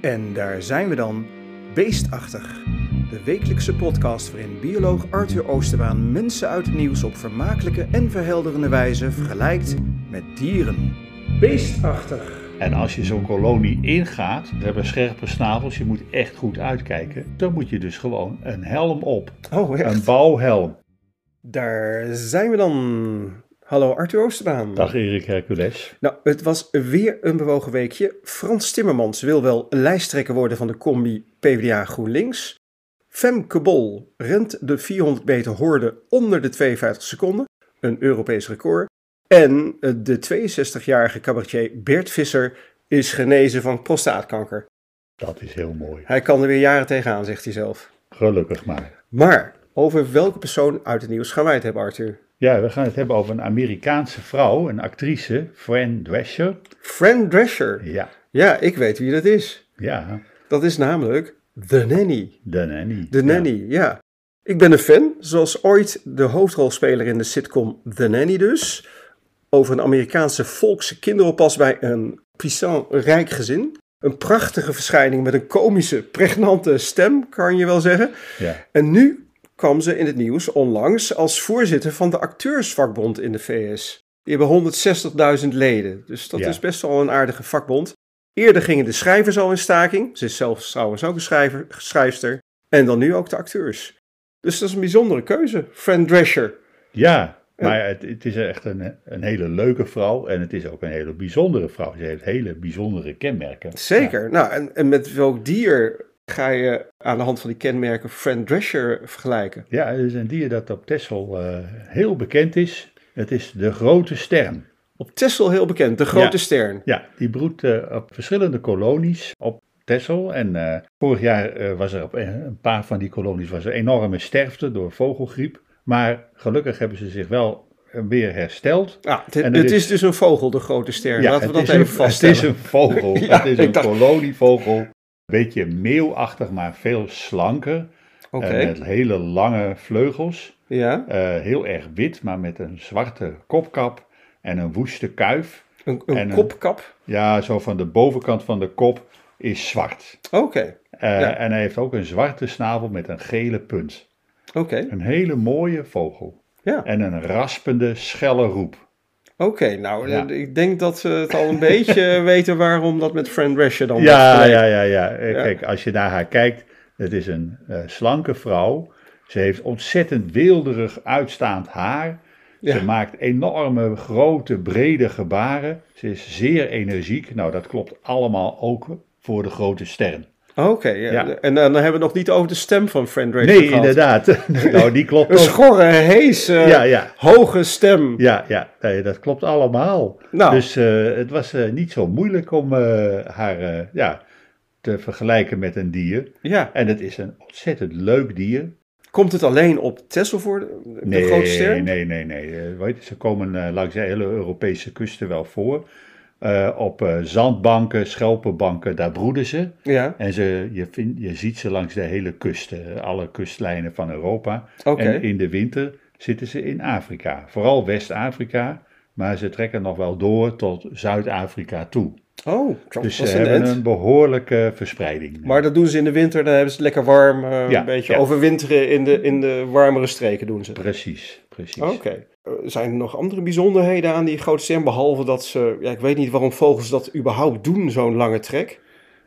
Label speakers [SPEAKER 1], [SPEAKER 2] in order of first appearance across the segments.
[SPEAKER 1] En daar zijn we dan, Beestachtig. De wekelijkse podcast waarin bioloog Arthur Oosterbaan mensen uit het nieuws op vermakelijke en verhelderende wijze vergelijkt met dieren. Beestachtig.
[SPEAKER 2] En als je zo'n kolonie ingaat, we hebben scherpe snavels, je moet echt goed uitkijken. Dan moet je dus gewoon een helm op.
[SPEAKER 1] Oh,
[SPEAKER 2] Een
[SPEAKER 1] echt?
[SPEAKER 2] bouwhelm.
[SPEAKER 1] Daar zijn we dan. Hallo Arthur Oosterbaan.
[SPEAKER 2] Dag Erik Hercules.
[SPEAKER 1] Nou, het was weer een bewogen weekje. Frans Timmermans wil wel lijsttrekker worden van de combi PvdA GroenLinks. Femke Bol rent de 400 meter hoorde onder de 52 seconden, een Europees record. En eh, de 62-jarige cabaretier Bert Visser is genezen van prostaatkanker.
[SPEAKER 2] Dat is heel mooi.
[SPEAKER 1] Hij kan er weer jaren tegenaan, zegt hij zelf.
[SPEAKER 2] Gelukkig maar.
[SPEAKER 1] Maar over welke persoon uit het nieuws gaan wij het hebben, Arthur?
[SPEAKER 2] Ja, we gaan het hebben over een Amerikaanse vrouw, een actrice, Fran Drescher.
[SPEAKER 1] Fran Drescher.
[SPEAKER 2] Ja,
[SPEAKER 1] Ja, ik weet wie dat is.
[SPEAKER 2] ja,
[SPEAKER 1] Dat is namelijk The Nanny.
[SPEAKER 2] de nanny.
[SPEAKER 1] De Nanny, ja. Ik ben een fan, zoals ooit de hoofdrolspeler in de sitcom The Nanny dus. Over een Amerikaanse volkse kinderoppas bij een puissant rijk gezin. Een prachtige verschijning met een komische, pregnante stem, kan je wel zeggen.
[SPEAKER 2] Ja, ja.
[SPEAKER 1] En nu kwam ze in het nieuws onlangs als voorzitter van de acteursvakbond in de VS. Die hebben 160.000 leden, dus dat
[SPEAKER 2] Ja.
[SPEAKER 1] is best wel een aardige vakbond. Eerder gingen de schrijvers al in staking. Ze is zelf trouwens ook een schrijver, schrijfster. En dan nu ook de acteurs. Dus dat is een bijzondere keuze. Fran Drescher.
[SPEAKER 2] Ja, maar het, het is echt een, een hele leuke vrouw en het is ook een hele bijzondere vrouw. Ze heeft hele bijzondere kenmerken.
[SPEAKER 1] Zeker. Nou, en, en met welk dier ga je aan de hand van die kenmerken Fran Drescher vergelijken?
[SPEAKER 2] Ja, het is een dier dat op Texel eh, heel bekend is. Het is de grote stern.
[SPEAKER 1] Op Texel heel bekend, de grote
[SPEAKER 2] Ja.
[SPEAKER 1] stern.
[SPEAKER 2] Ja, die broedt eh, op verschillende kolonies op Texel. En eh, vorig jaar eh, was er op een een paar van die kolonies was er enorme sterfte door vogelgriep. Maar gelukkig hebben ze zich wel eh, weer hersteld.
[SPEAKER 1] Ja, het,
[SPEAKER 2] En
[SPEAKER 1] het
[SPEAKER 2] er
[SPEAKER 1] is...
[SPEAKER 2] is-
[SPEAKER 1] dus een vogel, de grote ster.
[SPEAKER 2] Ja,
[SPEAKER 1] Laten we
[SPEAKER 2] het
[SPEAKER 1] dat
[SPEAKER 2] is
[SPEAKER 1] even
[SPEAKER 2] een-
[SPEAKER 1] vaststellen.
[SPEAKER 2] Het is een vogel.
[SPEAKER 1] Ja,
[SPEAKER 2] het is
[SPEAKER 1] ik
[SPEAKER 2] een
[SPEAKER 1] dacht-
[SPEAKER 2] kolonievogel. Een beetje meeuwachtig, maar veel slanker.
[SPEAKER 1] Oké,
[SPEAKER 2] Eh, met hele lange vleugels.
[SPEAKER 1] ja.
[SPEAKER 2] Eh, heel erg wit, maar met een zwarte kopkap en een woeste kuif.
[SPEAKER 1] Een, een
[SPEAKER 2] en een-
[SPEAKER 1] kopkap.
[SPEAKER 2] Ja, zo van de bovenkant van de kop is zwart.
[SPEAKER 1] Oké,
[SPEAKER 2] Eh,
[SPEAKER 1] Ja.
[SPEAKER 2] En hij heeft ook een zwarte snavel met een gele punt.
[SPEAKER 1] oké.
[SPEAKER 2] Een hele mooie vogel.
[SPEAKER 1] Ja, oké.
[SPEAKER 2] En een raspende, schelle roep.
[SPEAKER 1] Nou,
[SPEAKER 2] Ja.
[SPEAKER 1] eh, ik denk dat we het al een beetje weten waarom dat met Fran Drescher dan wordt
[SPEAKER 2] Ja,
[SPEAKER 1] vergeleken.
[SPEAKER 2] ja, ja, ja. Eh,
[SPEAKER 1] Ja.
[SPEAKER 2] Kijk, als je naar haar kijkt, het is een eh, slanke vrouw. Ze heeft ontzettend weelderig uitstaand haar.
[SPEAKER 1] Ja.
[SPEAKER 2] Ze maakt enorme, grote, brede gebaren. Ze is zeer energiek. Nou, dat klopt allemaal ook voor de grote sterren.
[SPEAKER 1] Oké, ja.
[SPEAKER 2] Ja.
[SPEAKER 1] en eh, dan hebben we het nog niet over de stem van Fran Drescher
[SPEAKER 2] Nee,
[SPEAKER 1] gehad.
[SPEAKER 2] inderdaad. nou, die klopt
[SPEAKER 1] Een
[SPEAKER 2] ook.
[SPEAKER 1] schorre, hees, eh,
[SPEAKER 2] Ja, ja.
[SPEAKER 1] hoge stem.
[SPEAKER 2] Ja, ja nee, dat klopt allemaal.
[SPEAKER 1] Nou.
[SPEAKER 2] Dus eh, het was eh, niet zo moeilijk om eh, haar eh, ja, te vergelijken met een dier.
[SPEAKER 1] Ja.
[SPEAKER 2] En het is een ontzettend leuk dier.
[SPEAKER 1] Komt het alleen op Texel voor, de, de
[SPEAKER 2] Nee,
[SPEAKER 1] grote ster?
[SPEAKER 2] nee, nee, nee. Eh, weet je, ze komen eh, langs de hele Europese kusten wel voor. Eh, op eh, zandbanken, schelpenbanken, daar broeden ze.
[SPEAKER 1] Ja,
[SPEAKER 2] En ze, je, vind, je ziet ze langs de hele kust, eh, alle kustlijnen van Europa.
[SPEAKER 1] oké.
[SPEAKER 2] En in de winter zitten ze in Afrika, vooral West-Afrika, maar ze trekken nog wel door tot Zuid-Afrika toe.
[SPEAKER 1] Oh, dat
[SPEAKER 2] Dus ze
[SPEAKER 1] was een
[SPEAKER 2] hebben
[SPEAKER 1] end.
[SPEAKER 2] een behoorlijke verspreiding.
[SPEAKER 1] Maar dat doen ze in de winter, dan hebben ze het lekker warm. eh,
[SPEAKER 2] Ja,
[SPEAKER 1] een beetje
[SPEAKER 2] ja.
[SPEAKER 1] overwinteren in de, in de warmere streken doen ze.
[SPEAKER 2] Precies, precies.
[SPEAKER 1] Oké. Eh, Zijn er nog andere bijzonderheden aan die grote ster? Behalve dat ze, ja, ik weet niet waarom vogels dat überhaupt doen, zo'n lange trek.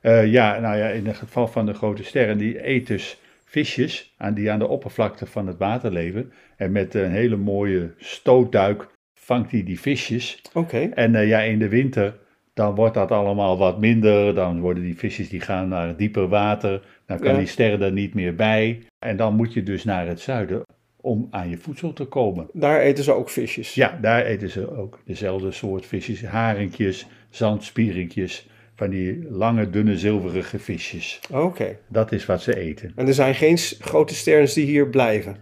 [SPEAKER 2] Eh, ja, nou ja, in het geval van de grote sterren, die eet dus visjes aan, die aan de oppervlakte van het water leven. En met een hele mooie stootduik vangt hij die visjes.
[SPEAKER 1] Oké.
[SPEAKER 2] En eh, ja, in de winter, dan wordt dat allemaal wat minder. Dan worden die visjes die gaan naar dieper water. Dan kan
[SPEAKER 1] Ja.
[SPEAKER 2] die sterren er niet meer bij. En dan moet je dus naar het zuiden om aan je voedsel te komen.
[SPEAKER 1] Daar eten ze ook visjes.
[SPEAKER 2] Ja, daar eten ze ook dezelfde soort visjes. Haringjes, zandspierinkjes, van die lange, dunne, zilverige visjes.
[SPEAKER 1] Oké.
[SPEAKER 2] Dat is wat ze eten.
[SPEAKER 1] En er zijn geen s- grote sterns die hier blijven.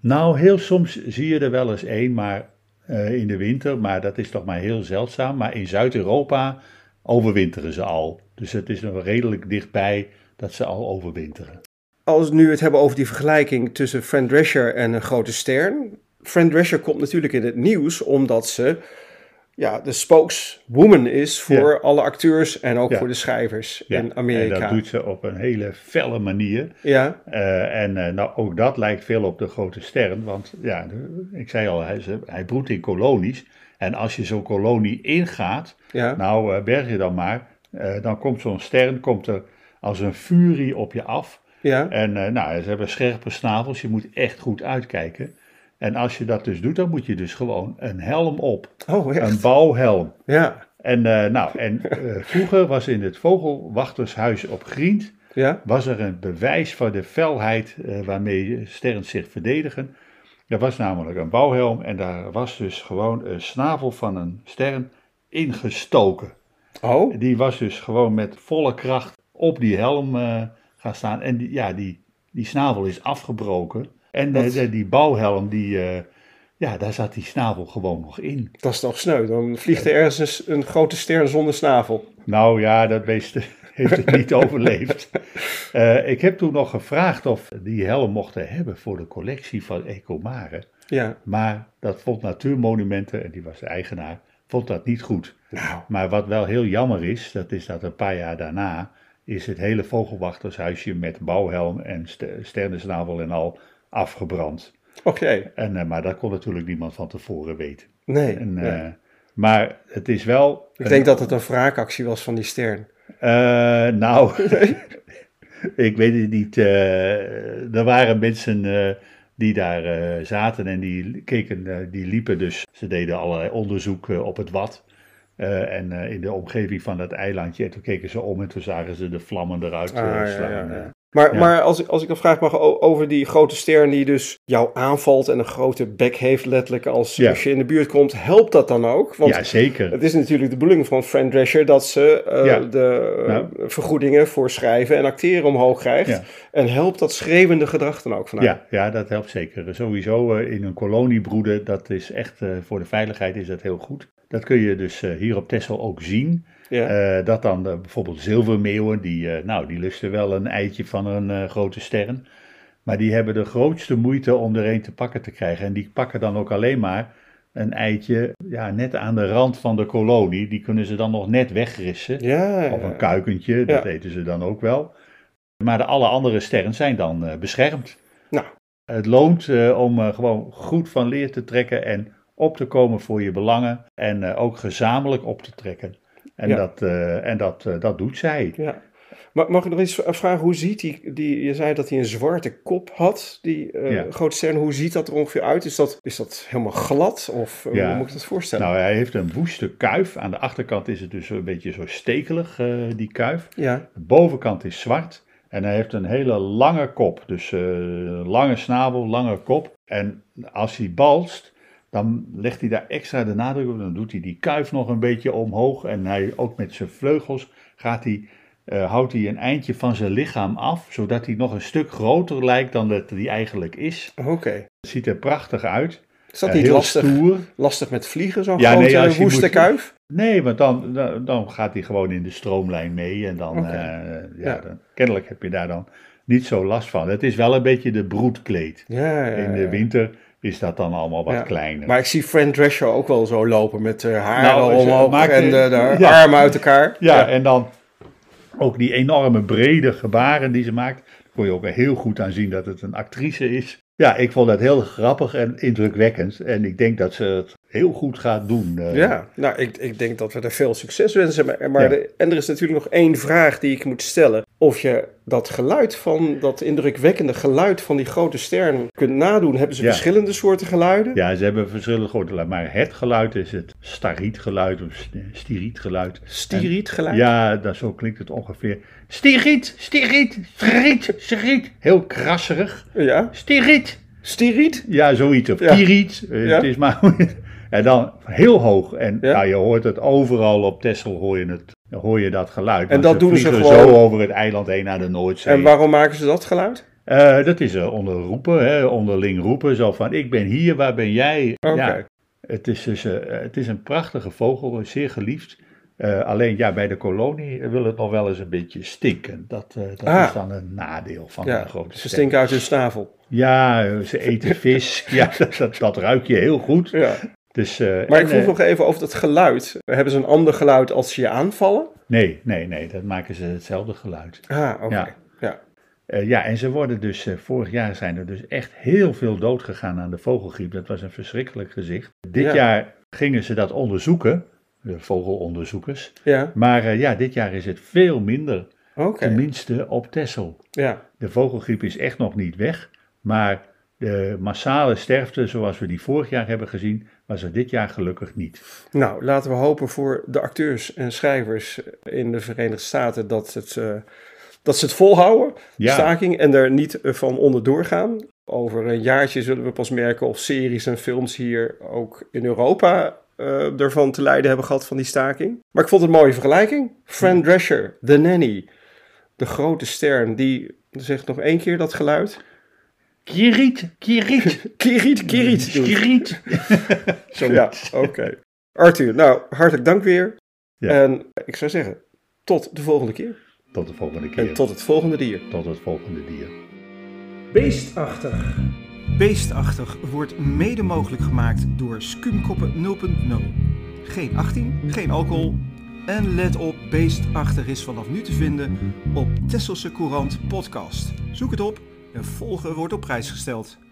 [SPEAKER 2] Nou, heel soms zie je er wel eens één, maar eh, in de winter, maar dat is toch maar heel zeldzaam. Maar in Zuid-Europa overwinteren ze al. Dus het is nog redelijk dichtbij dat ze al overwinteren.
[SPEAKER 1] Als we nu het hebben over die vergelijking tussen Fran Drescher en een grote stern. Fran Drescher komt natuurlijk in het nieuws omdat ze ja, de spokeswoman is voor
[SPEAKER 2] Ja.
[SPEAKER 1] alle acteurs en ook
[SPEAKER 2] Ja.
[SPEAKER 1] voor de schrijvers
[SPEAKER 2] Ja,
[SPEAKER 1] in
[SPEAKER 2] En
[SPEAKER 1] Amerika.
[SPEAKER 2] dat doet ze op een hele felle manier.
[SPEAKER 1] Ja,
[SPEAKER 2] Eh, en eh, nou, ook dat lijkt veel op de grote sterren, want ja, de- ik zei al, hij, is- hij broedt in kolonies. En als je zo'n kolonie ingaat,
[SPEAKER 1] ja.
[SPEAKER 2] nou eh, berg je dan maar, eh, dan komt zo'n stern komt er als een furie op je af.
[SPEAKER 1] ja.
[SPEAKER 2] En eh, nou, ze hebben scherpe snavels, je moet echt goed uitkijken. En als je dat dus doet, dan moet je dus gewoon een helm op,
[SPEAKER 1] Oh, echt?
[SPEAKER 2] een bouwhelm.
[SPEAKER 1] Ja,
[SPEAKER 2] En, eh, nou, en eh, vroeger was in het vogelwachtershuis op Grient
[SPEAKER 1] ja,
[SPEAKER 2] was er een bewijs van de felheid eh, waarmee sterren zich verdedigen. Er was namelijk een bouwhelm en daar was dus gewoon een snavel van een stern ingestoken.
[SPEAKER 1] oh,
[SPEAKER 2] Die was dus gewoon met volle kracht op die helm eh, gaan staan. En die, ja, die, die snavel is afgebroken. En
[SPEAKER 1] Dat-
[SPEAKER 2] eh, de- die bouwhelm, die, eh, ja, daar zat die snavel gewoon nog in.
[SPEAKER 1] dat is toch sneu. Dan vliegt er ergens een s- een, grote ster zonder snavel.
[SPEAKER 2] Nou ja, dat beest heeft het niet overleefd. Eh, ik heb toen nog gevraagd of we die helm mochten hebben voor de collectie van Ecomare.
[SPEAKER 1] Ja,
[SPEAKER 2] Maar dat vond Natuurmonumenten, en die was de eigenaar, vond dat niet goed.
[SPEAKER 1] nou,
[SPEAKER 2] Maar wat wel heel jammer is, dat is dat een paar jaar daarna is het hele vogelwachtershuisje met bouwhelm en st sterrensnavel en al afgebrand.
[SPEAKER 1] oké.
[SPEAKER 2] En, eh, maar dat kon natuurlijk niemand van tevoren weten.
[SPEAKER 1] Nee,
[SPEAKER 2] En,
[SPEAKER 1] nee.
[SPEAKER 2] eh, maar het is wel...
[SPEAKER 1] ik denk dat het een wraakactie was van die stern.
[SPEAKER 2] Eh, nou, ik weet het niet. eh, er waren mensen eh, die daar eh, zaten en die keken, eh, die liepen dus. Ze deden allerlei onderzoek eh, op het wat. eh, en eh, in de omgeving van dat eilandje. En toen keken ze om en toen zagen ze de vlammen eruit eh,
[SPEAKER 1] Ah, ja,
[SPEAKER 2] slaan.
[SPEAKER 1] ja, ja.
[SPEAKER 2] eh.
[SPEAKER 1] Maar,
[SPEAKER 2] Ja.
[SPEAKER 1] maar als, ik- als ik een vraag mag o- over die grote ster die dus jou aanvalt en een grote bek heeft letterlijk als,
[SPEAKER 2] Ja.
[SPEAKER 1] als je in de buurt komt, helpt dat dan ook? Want
[SPEAKER 2] Ja, zeker.
[SPEAKER 1] het is natuurlijk de bedoeling van Fran Drescher dat ze eh,
[SPEAKER 2] Ja.
[SPEAKER 1] de eh,
[SPEAKER 2] Nou.
[SPEAKER 1] vergoedingen voor schrijven en acteren omhoog krijgt.
[SPEAKER 2] Ja.
[SPEAKER 1] En helpt dat schreeuwende gedrag dan ook vanuit?
[SPEAKER 2] Ja, ja, dat helpt zeker. Sowieso eh, in een kolonie broeden, dat is echt, eh, voor de veiligheid is dat heel goed. Dat kun je dus eh, hier op Texel ook zien.
[SPEAKER 1] Ja.
[SPEAKER 2] Eh, dat dan eh, bijvoorbeeld zilvermeeuwen, die, eh, nou, die lusten wel een eitje van een eh, grote stern. Maar die hebben de grootste moeite om er een te pakken te krijgen. En die pakken dan ook alleen maar een eitje ja, net aan de rand van de kolonie. Die kunnen ze dan nog net wegrissen.
[SPEAKER 1] Ja,
[SPEAKER 2] Of een kuikentje, dat
[SPEAKER 1] Eh, Ja.
[SPEAKER 2] eten ze dan ook wel. Maar de alle andere sterren zijn dan eh, beschermd.
[SPEAKER 1] Nou.
[SPEAKER 2] Het loont eh, om eh, gewoon goed van leer te trekken en op te komen voor je belangen. En eh, ook gezamenlijk op te trekken. En,
[SPEAKER 1] Ja.
[SPEAKER 2] dat, eh, en dat, eh, dat doet zij.
[SPEAKER 1] Ja. Maar mag ik nog eens v- vragen, hoe ziet die, die, je zei dat hij een zwarte kop had, die eh,
[SPEAKER 2] Ja.
[SPEAKER 1] grote ster, hoe ziet dat er ongeveer uit? Is dat, is dat helemaal glad of eh,
[SPEAKER 2] Ja.
[SPEAKER 1] hoe moet ik dat voorstellen?
[SPEAKER 2] Nou, hij heeft een woeste kuif. Aan de achterkant is het dus een beetje zo stekelig, eh, die kuif.
[SPEAKER 1] ja,
[SPEAKER 2] De bovenkant is zwart en hij heeft een hele lange kop. Dus eh, lange snabel, lange kop. En als hij balst, dan legt hij daar extra de nadruk op. Dan doet hij die kuif nog een beetje omhoog. En hij, ook met zijn vleugels gaat hij, eh, houdt hij een eindje van zijn lichaam af. Zodat hij nog een stuk groter lijkt dan dat hij eigenlijk is.
[SPEAKER 1] oké.
[SPEAKER 2] Het ziet er prachtig uit.
[SPEAKER 1] Is dat
[SPEAKER 2] Eh,
[SPEAKER 1] niet
[SPEAKER 2] heel
[SPEAKER 1] lastig,
[SPEAKER 2] stoer.
[SPEAKER 1] lastig met vliegen, zo'n
[SPEAKER 2] Ja, nee,
[SPEAKER 1] grote
[SPEAKER 2] als je
[SPEAKER 1] woeste
[SPEAKER 2] moet-
[SPEAKER 1] kuif?
[SPEAKER 2] Nee, want dan, dan, dan gaat hij gewoon in de stroomlijn mee. En dan,
[SPEAKER 1] Oké.
[SPEAKER 2] eh, ja,
[SPEAKER 1] Ja.
[SPEAKER 2] dan- kennelijk heb je daar dan niet zo last van. Het is wel een beetje de broedkleed.
[SPEAKER 1] Ja, ja,
[SPEAKER 2] In
[SPEAKER 1] ja.
[SPEAKER 2] de winter is dat dan allemaal wat
[SPEAKER 1] Ja,
[SPEAKER 2] kleiner.
[SPEAKER 1] Maar ik zie Fran Drescher ook wel zo lopen met eh, haar haren
[SPEAKER 2] Nou, ze
[SPEAKER 1] omhoog
[SPEAKER 2] maakt-
[SPEAKER 1] en de, de
[SPEAKER 2] ja.
[SPEAKER 1] armen uit elkaar.
[SPEAKER 2] ja, en dan ook die enorme brede gebaren die ze maakt. Daar kon je ook heel goed aan zien dat het een actrice is. Ja, ik vond dat heel grappig en indrukwekkend. En ik denk dat ze het heel goed gaat doen. eh.
[SPEAKER 1] Ja, nou, ik, ik denk dat we er veel succes wensen. Maar, maar
[SPEAKER 2] Ja.
[SPEAKER 1] de- en er is natuurlijk nog één vraag die ik moet stellen. Of je dat geluid van, dat indrukwekkende geluid van die grote ster kunt nadoen. Hebben ze
[SPEAKER 2] Ja.
[SPEAKER 1] verschillende soorten geluiden?
[SPEAKER 2] Ja, ze hebben verschillende geluiden. Maar het geluid is het starietgeluid of stirietgeluid.
[SPEAKER 1] Stirietgeluid?
[SPEAKER 2] Ja, dat, zo klinkt het ongeveer. Stiriet, stiriet, stiriet, stiriet. Heel krasserig.
[SPEAKER 1] Ja.
[SPEAKER 2] Stiriet.
[SPEAKER 1] Stiriet?
[SPEAKER 2] Ja, zoiets. Of
[SPEAKER 1] Ja.
[SPEAKER 2] piriet. Eh,
[SPEAKER 1] Ja.
[SPEAKER 2] Het is maar... en dan heel hoog. En
[SPEAKER 1] Ja.
[SPEAKER 2] nou, je hoort het overal op Texel hoor je, het, hoor je dat geluid.
[SPEAKER 1] En
[SPEAKER 2] Want
[SPEAKER 1] dat doen ze
[SPEAKER 2] vliegen
[SPEAKER 1] gewoon-
[SPEAKER 2] zo over het eiland heen naar de Noordzee.
[SPEAKER 1] En waarom maken ze dat geluid?
[SPEAKER 2] Eh, dat is eh, onder roepen, hè, onderling roepen. Zo van, ik ben hier, waar ben jij?
[SPEAKER 1] Oké.
[SPEAKER 2] Ja, het is, dus, eh, het is een prachtige vogel, eh, zeer geliefd. Eh, alleen ja, bij de kolonie wil het nog wel eens een beetje stinken. Dat, eh, dat
[SPEAKER 1] Ah.
[SPEAKER 2] is dan een nadeel van
[SPEAKER 1] Ja,
[SPEAKER 2] de grote
[SPEAKER 1] ze
[SPEAKER 2] ster.
[SPEAKER 1] stinken uit hun snavel.
[SPEAKER 2] Ja, eh, ze eten vis. ja, dat, dat, dat ruik je heel goed.
[SPEAKER 1] Ja.
[SPEAKER 2] Dus, eh,
[SPEAKER 1] Maar
[SPEAKER 2] en,
[SPEAKER 1] ik vroeg
[SPEAKER 2] eh,
[SPEAKER 1] nog even over dat geluid. Hebben ze een ander geluid als ze je aanvallen?
[SPEAKER 2] Nee, nee, nee, dat maken ze hetzelfde geluid.
[SPEAKER 1] Ah, oké.
[SPEAKER 2] Ja.
[SPEAKER 1] Ja.
[SPEAKER 2] Eh, ja, en ze worden dus, eh, vorig jaar zijn er dus echt heel veel dood gegaan aan de vogelgriep. Dat was een verschrikkelijk gezicht. Dit
[SPEAKER 1] Ja.
[SPEAKER 2] jaar gingen ze dat onderzoeken, de vogelonderzoekers.
[SPEAKER 1] Ja,
[SPEAKER 2] Maar eh, ja, dit jaar is het veel minder,
[SPEAKER 1] oké.
[SPEAKER 2] tenminste op Texel.
[SPEAKER 1] Ja,
[SPEAKER 2] De vogelgriep is echt nog niet weg, maar de massale sterfte zoals we die vorig jaar hebben gezien, was er dit jaar gelukkig niet.
[SPEAKER 1] nou laten we hopen voor de acteurs en schrijvers in de Verenigde Staten dat, het, eh, dat ze het volhouden,
[SPEAKER 2] Ja.
[SPEAKER 1] staking, en er niet eh, van onderdoor gaan. Over een jaartje zullen we pas merken of series en films hier ook in Europa eh ervan te lijden hebben gehad van die staking. Maar ik vond het een mooie vergelijking. Fran Drescher, The Nanny, de grote stern, die zegt nog één keer dat geluid.
[SPEAKER 2] Kieriet, kieriet,
[SPEAKER 1] Kiriet, Kiriet. doet.
[SPEAKER 2] kieriet.
[SPEAKER 1] Ja, oké. Arthur, nou, hartelijk dank weer.
[SPEAKER 2] Ja.
[SPEAKER 1] En ik zou zeggen, tot de volgende keer.
[SPEAKER 2] Tot de volgende
[SPEAKER 1] En
[SPEAKER 2] keer.
[SPEAKER 1] tot het volgende dier.
[SPEAKER 2] tot het volgende dier.
[SPEAKER 1] Beestachtig. Beestachtig wordt mede mogelijk gemaakt door Skumkoppen 0.0. Geen 18, geen alcohol. En let op, Beestachtig is vanaf nu te vinden op Tesselse Courant Podcast. Zoek het op en volgen wordt op prijs gesteld.